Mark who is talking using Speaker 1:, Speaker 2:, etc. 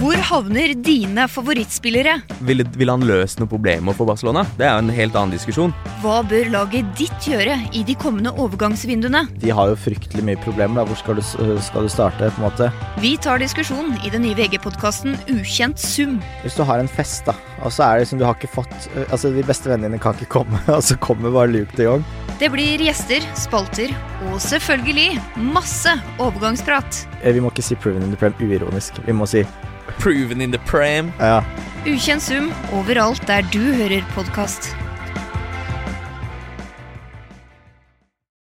Speaker 1: Hvor havner dine favorittspillere?
Speaker 2: Ville vil han løst noen problemer for Barcelona? Det er jo en helt annen diskusjon.
Speaker 1: Hva bør laget ditt gjøre i de kommende overgangsvinduene?
Speaker 3: De har jo fryktelig mye problemer. Da. Hvor skal du, s- øh, skal du starte? på en måte?
Speaker 1: Vi tar diskusjonen i den nye VG-podkasten Ukjent sum.
Speaker 3: Hvis du har en fest, da, og så er det liksom du har ikke fått Altså, de beste vennene dine kan ikke komme, og så kommer bare Luke de Jong.
Speaker 1: Det blir gjester, spalter og selvfølgelig masse overgangsprat.
Speaker 3: Eh, Vi må ikke si Proven in the Prem uironisk. Vi må si
Speaker 2: Proven in the pram.
Speaker 3: ja.
Speaker 1: Ukjent sum overalt der du hører podkast.